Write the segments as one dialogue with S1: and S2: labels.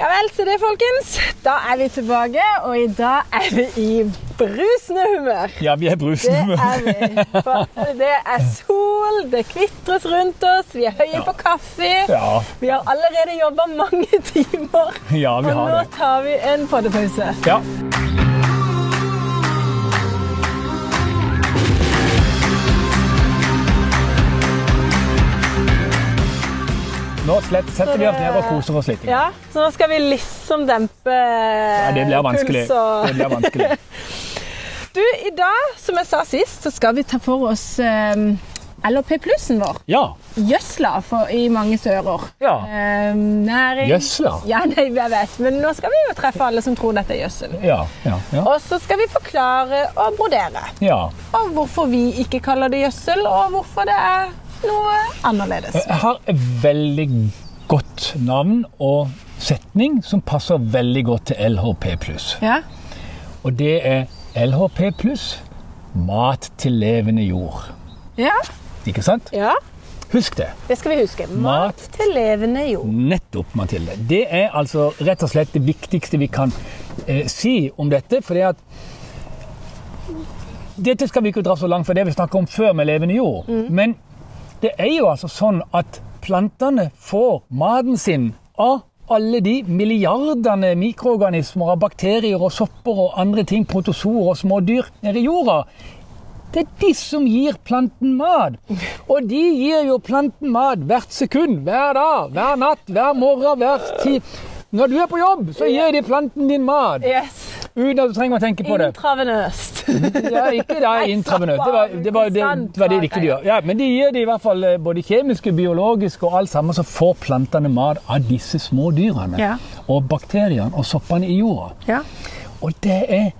S1: Ja vel, så det, folkens. Da er vi tilbake, og i dag er vi i brusende humør.
S2: Ja, vi
S1: Det
S2: er brusende.
S1: er vi. For det er sol, det kvitres rundt oss, vi er høye
S2: Ja.
S1: på kaffe.
S2: Ja,
S1: Vi har allerede jobba mange timer,
S2: ja, vi
S1: og
S2: har
S1: nå
S2: det.
S1: tar vi en poddepause.
S2: Ja. Nå slett, setter vi oss ned og koser oss litt.
S1: Ja, så nå skal vi liksom dempe
S2: Ja, det blir vanskelig.
S1: puls og-
S2: Det blir vanskelig.
S1: Du, i dag, som jeg sa sist, så skal vi ta for oss um, LHP-plussen vår.
S2: Ja.
S1: Gjødsla for, i mange sører.
S2: ja.
S1: Eh, næring
S2: Gjødsla.
S1: Ja, nei, jeg vet, men nå skal vi jo treffe alle som tror dette er gjødsel.
S2: Ja, ja, ja.
S1: Og så skal vi forklare og brodere.
S2: ja.
S1: Og hvorfor vi ikke kaller det gjødsel, og hvorfor det er noe annerledes.
S2: Jeg har et veldig godt navn og setning som passer veldig godt til LHP+.
S1: Ja,
S2: Og det er LHP pluss mat til levende jord.
S1: ja,
S2: Ikke sant?
S1: ja.
S2: Husk det.
S1: Det skal vi huske.
S2: Mat.
S1: Mat til levende jord.
S2: Nettopp, Mathilde. Det er altså rett og slett det viktigste vi kan eh, si om dette. For det at Dette skal vi ikke dra så langt, for det vi snakket om før med levende jord. Men det er jo altså sånn at plantene får maten sin av alle de milliardene mikroorganismer av bakterier og sopper og andre ting, protozoer og små dyr nede i jorda. Det er de som gir planten mat. Og de gir jo planten mat hvert sekund, hver dag, hver natt, hver morgen, hver tid. Når du er på jobb, så gir de planten din mat.
S1: Yes.
S2: Uten at du trenger å tenke på det.
S1: Intravenøst.
S2: Ja, ikke det er intravenøst. Det var det, var, det, det, var det de ikke de gjør. Ja, men de gir det i hvert fall eh, både kjemiske, biologiske og alt sammen, så får plantene mat av disse små dyrene.
S1: Ja.
S2: Og bakteriene og soppene i jorda.
S1: Ja.
S2: Og det er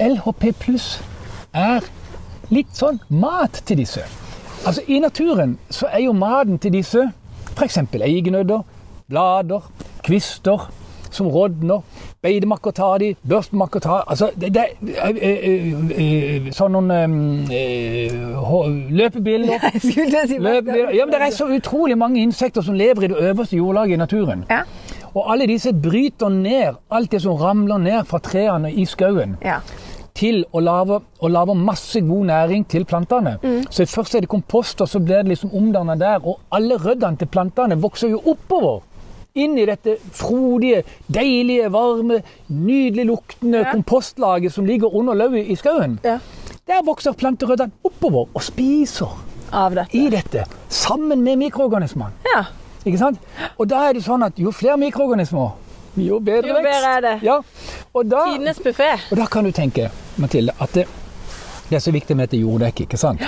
S2: LHP pluss er litt sånn mat til disse. Altså I naturen så er jo maten til disse f.eks. eigenødder, blader, kvister som rådner. Beitemakker tar de, børstemakker tar altså, det, det, eh, eh, eh, Sånn noen eh, hå- løpebiller
S1: Jeg skulle til å si
S2: Løpebiller. Ja, men Det er så utrolig mange insekter som lever i det øverste jordlaget i naturen.
S1: Ja,
S2: Og alle disse bryter ned alt det som ramler ned fra trærne i skauen,
S1: ja.
S2: til å lage, å lage masse god næring til plantene.
S1: Mm.
S2: Så først er det kompost, og så blir det liksom omdanna der. Og alle røddene til plantene vokser jo oppover. Inn i dette frodige, deilige, varme, nydelig luktende
S1: Ja.
S2: kompostlaget som ligger under lauvet i skauen.
S1: ja.
S2: Der vokser planterøddene oppover og spiser
S1: Av dette.
S2: i dette, sammen med mikroorganismene.
S1: Ja.
S2: Ikke sant? Og da er det sånn at jo flere mikroorganismer, jo bedre
S1: Jo
S2: vekst.
S1: bedre er det.
S2: Ja. Og, da,
S1: Tidenes buffé.
S2: og da kan du tenke, Mathilde, at det, det er så viktig med dette jorddekket. ikke sant?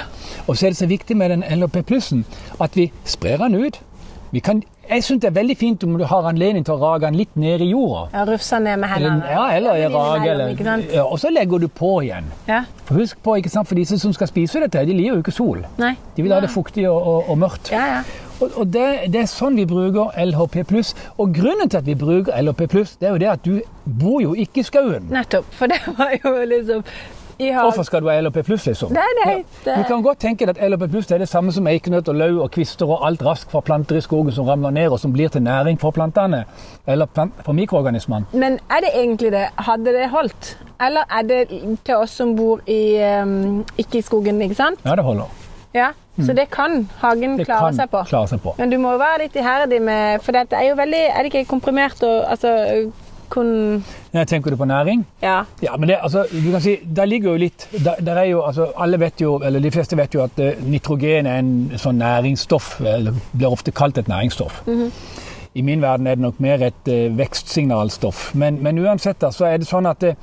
S2: Og så er det så viktig med den LHP plussen at vi sprer den ut. Vi kan, jeg syns det er veldig fint om du har anledning til å rage den litt ned i jorda.
S1: Ja, Rufsa ned med
S2: Eller,
S1: hendene.
S2: ja, eller i
S1: Ja, men
S2: rage.
S1: innimellom, ikke sant?
S2: Eller, ja, og så legger du på igjen.
S1: Ja.
S2: For husk på, ikke sant, for disse som skal spise dette, de liker jo ikke sol.
S1: Nei.
S2: De vil ha det fuktig og, og, og mørkt.
S1: Ja, ja.
S2: Og, og det, det er sånn vi bruker LHP+. Og grunnen til at vi bruker LHP+, det er jo det at du bor jo ikke i skauen.
S1: Nettopp. For det var jo liksom i hagen.
S2: Hvorfor skal du ha LHP+, liksom?
S1: Nei, nei. Det,
S2: Du kan godt tenke deg at LHP+, det er det samme som eikenøtt og løv og kvister og alt rask fra planter i skogen som ramler ned og som blir til næring for plantene, eller plant, for mikroorganismene.
S1: Men er det egentlig det? Hadde det holdt? Eller er det til oss som bor i um, ikke i skogen, ikke sant?
S2: Ja, det holder.
S1: Ja. Så det kan hagen
S2: Mm. Det
S1: klare
S2: kan
S1: seg på.
S2: klare seg på.
S1: Men du må jo være litt iherdig med For det er jo veldig Er det ikke komprimert og altså kun
S2: Ja, Tenker du på næring?
S1: Ja.
S2: Ja, men det, altså, du kan si, der ligger jo litt der, der er jo, altså, alle vet jo, eller De fleste vet jo at eh, nitrogen er en sånn næringsstoff, eller blir ofte kalt et næringsstoff.
S1: Mhm.
S2: I min verden er det nok mer et eh, vekstsignalstoff. Men, men uansett da, så er det sånn at eh,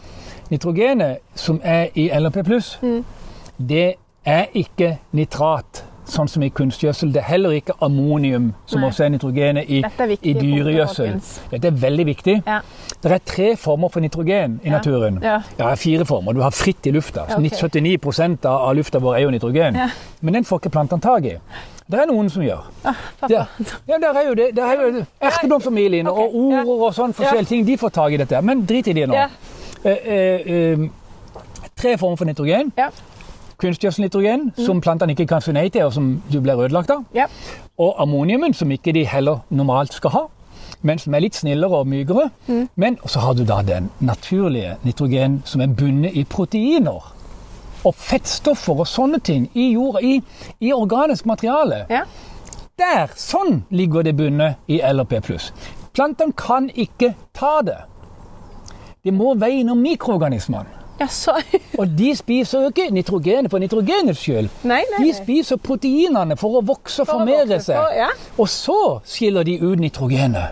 S2: nitrogenet som er i LNP+,
S1: Mm.
S2: det er ikke nitrat, sånn som i kunstgjødsel. Det er heller ikke ammonium, som
S1: Nei.
S2: også er nitrogenet i,
S1: Dette er viktig.
S2: i dyregjødsel. Dette er veldig viktig.
S1: Ja.
S2: Det er tre former for nitrogen i
S1: Ja.
S2: naturen.
S1: Ja.
S2: Ja, fire former. Du har fritt i lufta.
S1: Ja, ok.
S2: Så 79 av av lufta vår er jo nitrogen.
S1: Ja.
S2: Men den får ikke plantene tak i. Det er noen som gjør.
S1: Pappa.
S2: Der, ja, der er jo det. Der er jo Erteblomfamilien
S1: Ok,
S2: og orer og sånn forskjellige ting, de får tak i dette. Men drit i det nå.
S1: Ja.
S2: Eh, eh, eh, tre former for nitrogen.
S1: Ja. Mm.
S2: Kunstgjødselnitrogen, som plantene ikke kan si nei til, og som du blir ødelagt av.
S1: Ja.
S2: Og ammoniumen, som ikke de heller normalt skal ha. men som er litt snillere og mykere.
S1: Mm.
S2: Men så har du da den naturlige nitrogen som er bundet i proteiner. Og fettstoffer og sånne ting i jorda, i, i organisk materiale.
S1: Ja.
S2: Der! Sånn ligger det bundet i LRP+. Plantene kan ikke ta det. Det må veie innom mikroorganismene.
S1: ja, så
S2: Og de spiser jo ikke nitrogenet for nitrogenets skyld.
S1: Nei, nei,
S2: De
S1: nei.
S2: spiser proteinene for å vokse og
S1: For å
S2: formere
S1: vokse,
S2: seg.
S1: for- ja.
S2: Og så skiller de ut nitrogenet.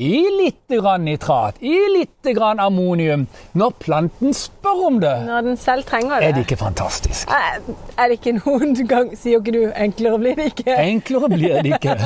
S2: I litt grann nitrat, i litt grann ammonium. Når planten spør om det,
S1: Når den selv trenger det.
S2: er det ikke fantastisk.
S1: Er er det ikke noen gang Sier jo ikke du 'enklere blir det ikke'?
S2: Enklere blir det ikke.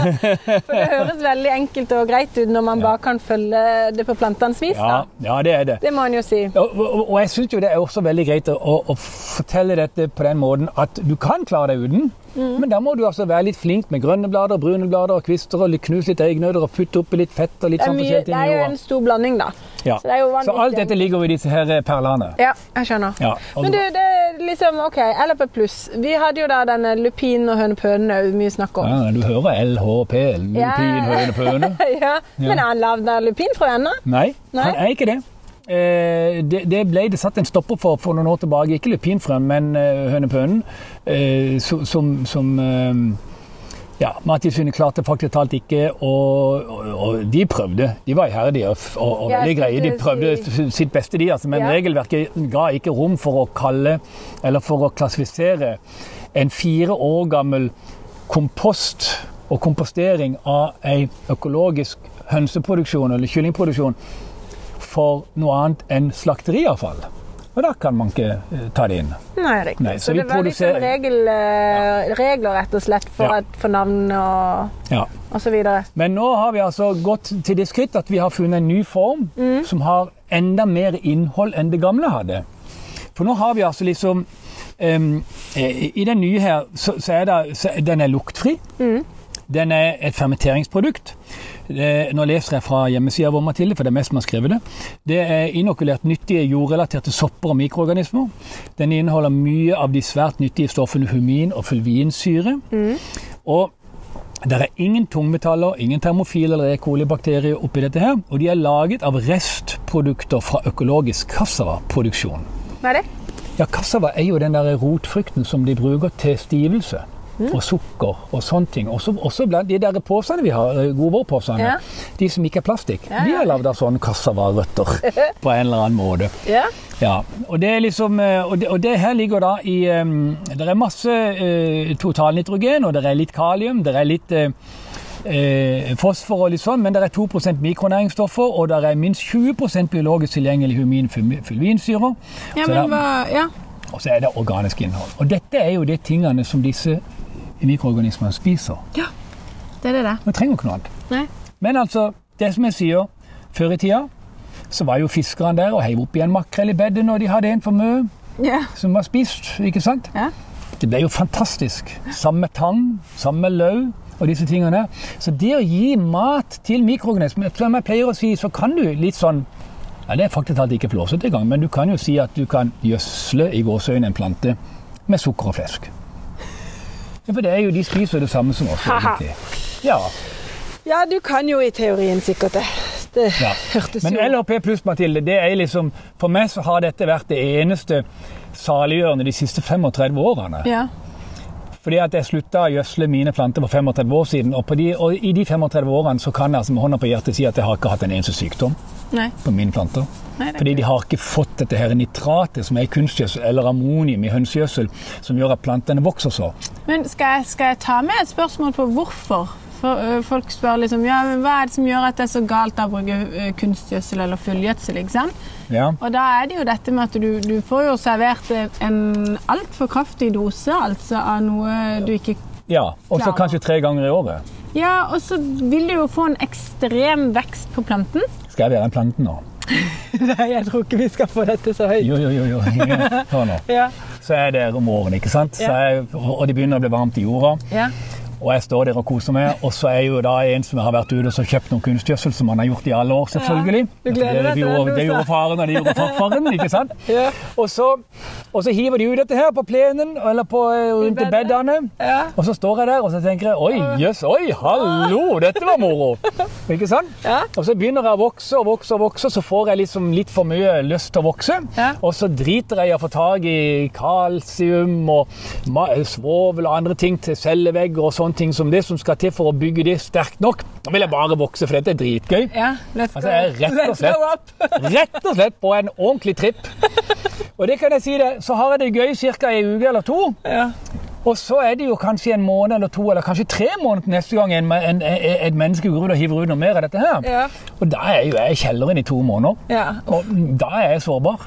S1: For det høres veldig enkelt og greit ut når man bare kan følge det på plantenes vis.
S2: Ja, Sånn
S1: Da.
S2: ja det er det.
S1: Det må man jo si.
S2: Og, og, og jeg syns jo det er også veldig greit å, å, å fortelle dette på den måten at du kan klare deg uten,
S1: Mm.
S2: men da må du altså være litt flink med grønne blader, brune blader, og kvister og litt- knuse litt eggnøtter og putte oppi litt fett og litt
S1: Det er,
S2: sånn
S1: mye,
S2: forskjellig
S1: det
S2: ting
S1: er
S2: i
S1: jo en
S2: jorda.
S1: stor blanding, da.
S2: Ja.
S1: så det er jo
S2: Så alt
S1: vanvittig.
S2: dette ligger jo i disse her eh, perlene.
S1: Ja, jeg skjønner.
S2: Ja, og-
S1: Men du, det er liksom OK, LP pluss. Vi hadde jo da denne lupinen og hønepønen òg, mye snakk om.
S2: Ja, du hører LHP, lupin, høne, pøne.
S1: ja. Men er han lagd av lupin fra ennå?
S2: Nei,
S1: Nei.
S2: han er ikke det. Eh, det, det ble det satt en stopper for for noen år tilbake. Ikke lupinfrøen, men eh, hønepønnen. Eh, som som, som eh, ja, Mattilsynet klarte faktisk talt ikke å og, og de prøvde. De var iherdige og, f- og, og
S1: Ja,
S2: veldig
S1: jeg
S2: greie. De
S1: skulle
S2: prøvde s- sitt beste, de. Altså, men
S1: Ja.
S2: regelverket ga ikke rom for å kalle, eller for å klassifisere, en fire år gammel kompost og kompostering av ei økologisk hønseproduksjon eller kyllingproduksjon for noe annet enn slakteriavfall. Og da kan man ikke eh, ta det inn.
S1: Nei, riktig.
S2: Nei,
S1: så,
S2: så vi
S1: det var liksom
S2: produserer-
S1: regel, eh, regler, rett og slett, for,
S2: Ja.
S1: at, for navn og,
S2: Ja.
S1: og så videre.
S2: Men nå har vi altså gått til det skritt at vi har funnet en ny form som har enda mer innhold enn det gamle hadde. For nå har vi altså liksom em, eh, I den nye her så, så er det, så, den er luktfri. Den er et fermenteringsprodukt. Eh, Nå leser jeg fra hjemmesida vår, Mathilde, for det er mest som har skrevet det. Det er inokulert nyttige jordrelaterte sopper og mikroorganismer. Den inneholder mye av de svært nyttige stoffene humin og fulvinsyre. Og det er ingen tungmetaller, ingen termofile eller E. coli-bakterier oppi dette her. Og de er laget av restprodukter fra økologisk kassavaproduksjon.
S1: Hva er det?
S2: Ja, cassava er jo den der rotfrukten som de bruker til stivelse.
S1: Mm.
S2: Og sukker og sånne ting. Også, også blant de der posene vi har, eh, God vår-posene,
S1: Ja.
S2: de som ikke er plastikk,
S1: Ja,
S2: de
S1: ja.
S2: er lagd av sånne cassava-røtter på en eller annen måte.
S1: Ja.
S2: Ja, og det er liksom eh, Og det, og det her ligger da i eh, Det er masse eh, totalnitrogen, og det er litt kalium, det er litt eh, eh, fosfor og litt sånn, men det er 2 mikronæringsstoffer, og det er minst 20 biologisk tilgjengelig humin fulvinsyrer.
S1: Ja,
S2: Så det er-
S1: men hva Ja.
S2: og så er det organisk innhold. Og dette er jo de tingene som disse mikroorganismene spiser.
S1: Det er det der.
S2: Vi trenger ikke noe annet.
S1: Nei.
S2: Men altså, det som jeg sier, før i tida så var jo fiskerne der og heiv opp igjen makrell i bedet når de hadde en for mye
S1: Ja.
S2: som var spist. ikke sant?
S1: Ja.
S2: Det ble jo fantastisk. Samme tang, samme løv og disse tingene. Så det å gi mat til mikroorganismer Som jeg pleier å si, så kan du litt sånn ja, Det er faktisk alt ikke flåsete engang, men du kan jo si at du kan gjødsle i gåseøyne en plante med sukker og flesk. Ja, For det er jo, de spiser jo det samme som oss.
S1: Haha.
S2: egentlig. Ja,
S1: ja, du kan jo i teorien sikkert det. Det
S2: ja.
S1: hørtes
S2: Men
S1: jo
S2: LHP pluss, Mathilde, det er liksom For meg så har dette vært det eneste saliggjørende de siste 35 årene.
S1: Ja.
S2: Fordi at jeg slutta å gjødsle mine planter for 35 år siden. Og, på de, og i de 35 årene så kan jeg altså med hånda på hjertet si at jeg har ikke hatt en eneste sykdom
S1: Nei.
S2: på mine planter.
S1: Nei, det er
S2: Fordi de har ikke fått dette her nitratet som er i kunstgjødsel, eller ammonium i hønsegjødsel, som gjør at plantene vokser så.
S3: Men skal jeg, skal jeg ta med et spørsmål på hvorfor? For, ø, folk spør liksom, ja, men Hva er det som gjør at det er så galt å bruke ø, kunstgjødsel eller fullgjødsel? ikke sant?
S2: Ja.
S3: Og da er det jo dette med at du, du får jo servert ø, en altfor kraftig dose altså av noe du ikke
S2: ja. Og så
S3: Klarer.
S2: kanskje tre ganger i året.
S3: Ja, og så vil du jo få en ekstrem vekst på planten.
S2: Skal jeg være en plante nå?
S1: Nei, jeg tror ikke vi skal få dette så høyt.
S2: Jo, jo, jo. jo. Hør nå.
S1: Ja.
S2: Så er det om våren, ikke sant? Så
S1: Ja.
S2: er, og og det begynner å bli varmt i jorda.
S1: Ja.
S2: Og jeg står der og koser meg, og så er jeg jo da en som har vært ute og så kjøpt noen kunstgjødsel, som han har gjort i alle år, selvfølgelig.
S1: Ja, du gleder
S2: det,
S1: deg til det,
S2: gjorde, det
S1: du sa.
S2: gjorde faren, og det gjorde farfaren, ikke sant?
S1: Ja.
S2: Og, så, og så hiver de ut dette her på plenen, eller på, eh, rundt i
S1: bedet.
S2: bedene.
S1: Ja.
S2: Og så står jeg der og så tenker jeg, oi,
S1: Ah.
S2: jøss, oi, hallo, dette var moro. Ikke sant?
S1: Ja.
S2: Og så begynner jeg å vokse og vokse, og vokse, så får jeg liksom litt for mye lyst til å vokse.
S1: Ja.
S2: Og så driter jeg i å få tak i kalsium og ma- svovel og andre ting til cellevegger og sånne ting som det som skal til for å bygge det sterkt nok. Da vil jeg bare vokse, for dette er dritgøy.
S1: Ja, let's
S2: Altså, jeg er rett og
S1: Let's
S2: slett-
S1: go up.
S2: Rett og slett på en ordentlig tripp. Og det kan jeg si det, så har jeg det gøy ca. en uke eller to.
S1: Ja.
S2: Og så er det jo kanskje en måned eller to, eller kanskje tre måneder neste gang en, en, en, et menneske går ut og hiver ut noe mer av dette her.
S1: Ja.
S2: Og da er jo jeg i kjelleren i to måneder.
S1: ja.
S2: Og da er jeg sårbar.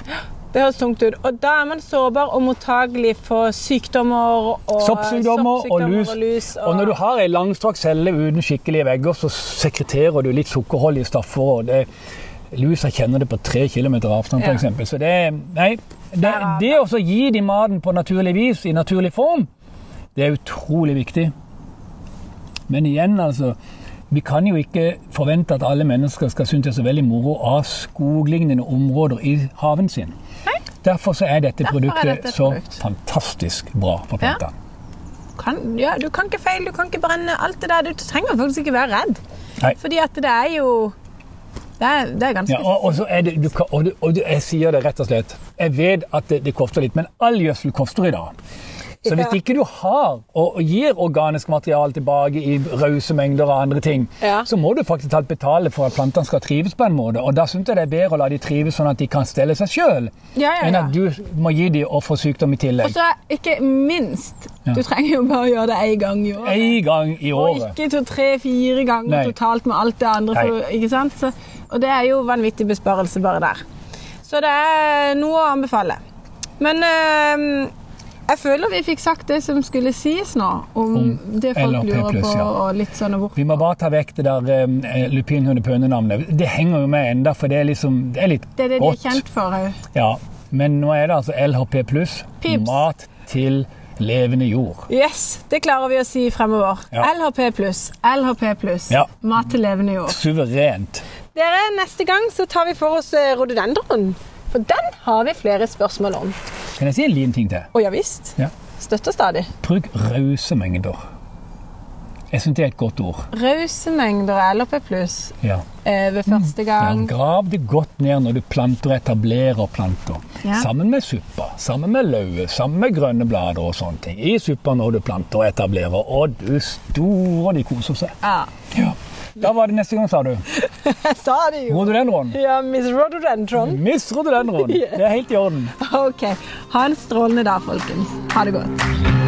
S1: Det høres tungt ut. Og da er man sårbar og mottagelig for sykdommer og eh,
S2: Soppsykdommer og lus.
S1: Og lus og...
S2: Og når du har ei langstrakt celle uten skikkelige vegger, så sekreterer du litt sukkerholdige stoffer. og det Lusa kjenner det på tre kilometer avstand,
S1: Ja.
S2: for eksempel. Så det, nei, det, det å så gi de maten på naturlig vis, i naturlig form, det er utrolig viktig. Men igjen, altså Vi kan jo ikke forvente at alle mennesker skal synes det er så veldig moro av skoglignende områder i haven sin. Derfor så er dette
S3: Derfor er
S2: produktet
S3: dette et
S2: så
S3: produkt.
S2: fantastisk bra for
S3: Ja.
S2: plantene.
S1: kan, ja, du kan ikke feile, du kan ikke brenne. Alt det der. Du trenger faktisk ikke være redd.
S2: Nei.
S1: Fordi at det er jo Det er, det er ganske
S2: Ja, og, og, så er det, du, kan- og, du, og du, jeg sier det rett og slett. Jeg vet at det, det koster litt, men all gjødsel koster i dag. Så hvis
S1: Ja.
S2: ikke du har og, og gir organisk materiale tilbake i rause mengder og andre ting,
S1: Ja.
S2: så må du faktisk talt betale for at plantene skal trives på en måte. Og da syns jeg det er bedre å la de trives sånn at de kan stelle seg sjøl,
S3: Ja, ja,
S2: enn
S3: ja.
S2: at du må gi dem og få sykdom i
S3: Og
S2: tillegg.
S3: så ikke minst
S2: Ja.
S3: Du trenger jo bare gjøre det én gang i året.
S2: Én gang i
S3: Og
S2: året.
S3: ikke to, tre-fire ganger
S2: Nei.
S3: totalt med alt det andre. For, ikke sant? Så,
S1: Og det er jo vanvittig besparelse bare der. Så det er noe å anbefale.
S3: men eh, jeg føler vi fikk sagt det som skulle sies nå, om,
S2: Om
S3: det folk
S2: LRP+,
S3: lurer på.
S2: ja.
S3: og litt sånn og hvorfor.
S2: Vi må bare ta vekk det der eh, lupinhundepønenavnet. Det henger jo med enda, for det er liksom Det er litt
S3: Det er det de er
S2: godt.
S3: kjent for eh. òg.
S2: Ja, men nå er det altså LHP pluss.
S3: Pips.
S2: Mat til levende jord.
S1: Yes, det klarer vi å si fremover.
S2: Ja.
S1: LHP pluss.
S3: LHP pluss.
S2: Ja.
S3: Mat til levende jord.
S2: Suverent.
S1: Dere, neste gang så tar vi for oss eh, rhododendron. For den har vi flere spørsmål om.
S2: Kan jeg si en liten ting til?
S1: Og ja visst.
S2: Ja.
S1: Støtter stadig.
S2: Bruk rause mengder. Jeg syns det er et godt ord.
S3: Rause mengder LHP pluss
S2: Ja.
S3: eh, ved første
S2: Ja,
S3: gang.
S2: grav det godt ned når du planter og etablerer planter.
S3: Ja.
S2: Sammen med suppa, sammen med lauvet, sammen med grønne blader og sånne ting. I suppa når du planter og etablerer. Og du store, de koser seg.
S3: Ja.
S2: Ja. Da var det neste gang, sa du.
S1: Jeg sa det jo.
S2: Rododendron.
S1: Ja, Miss Rhododendron.
S2: Miss rododendron. Det er helt i orden.
S1: Ok.
S3: Ha en strålende dag, folkens. Ha det godt.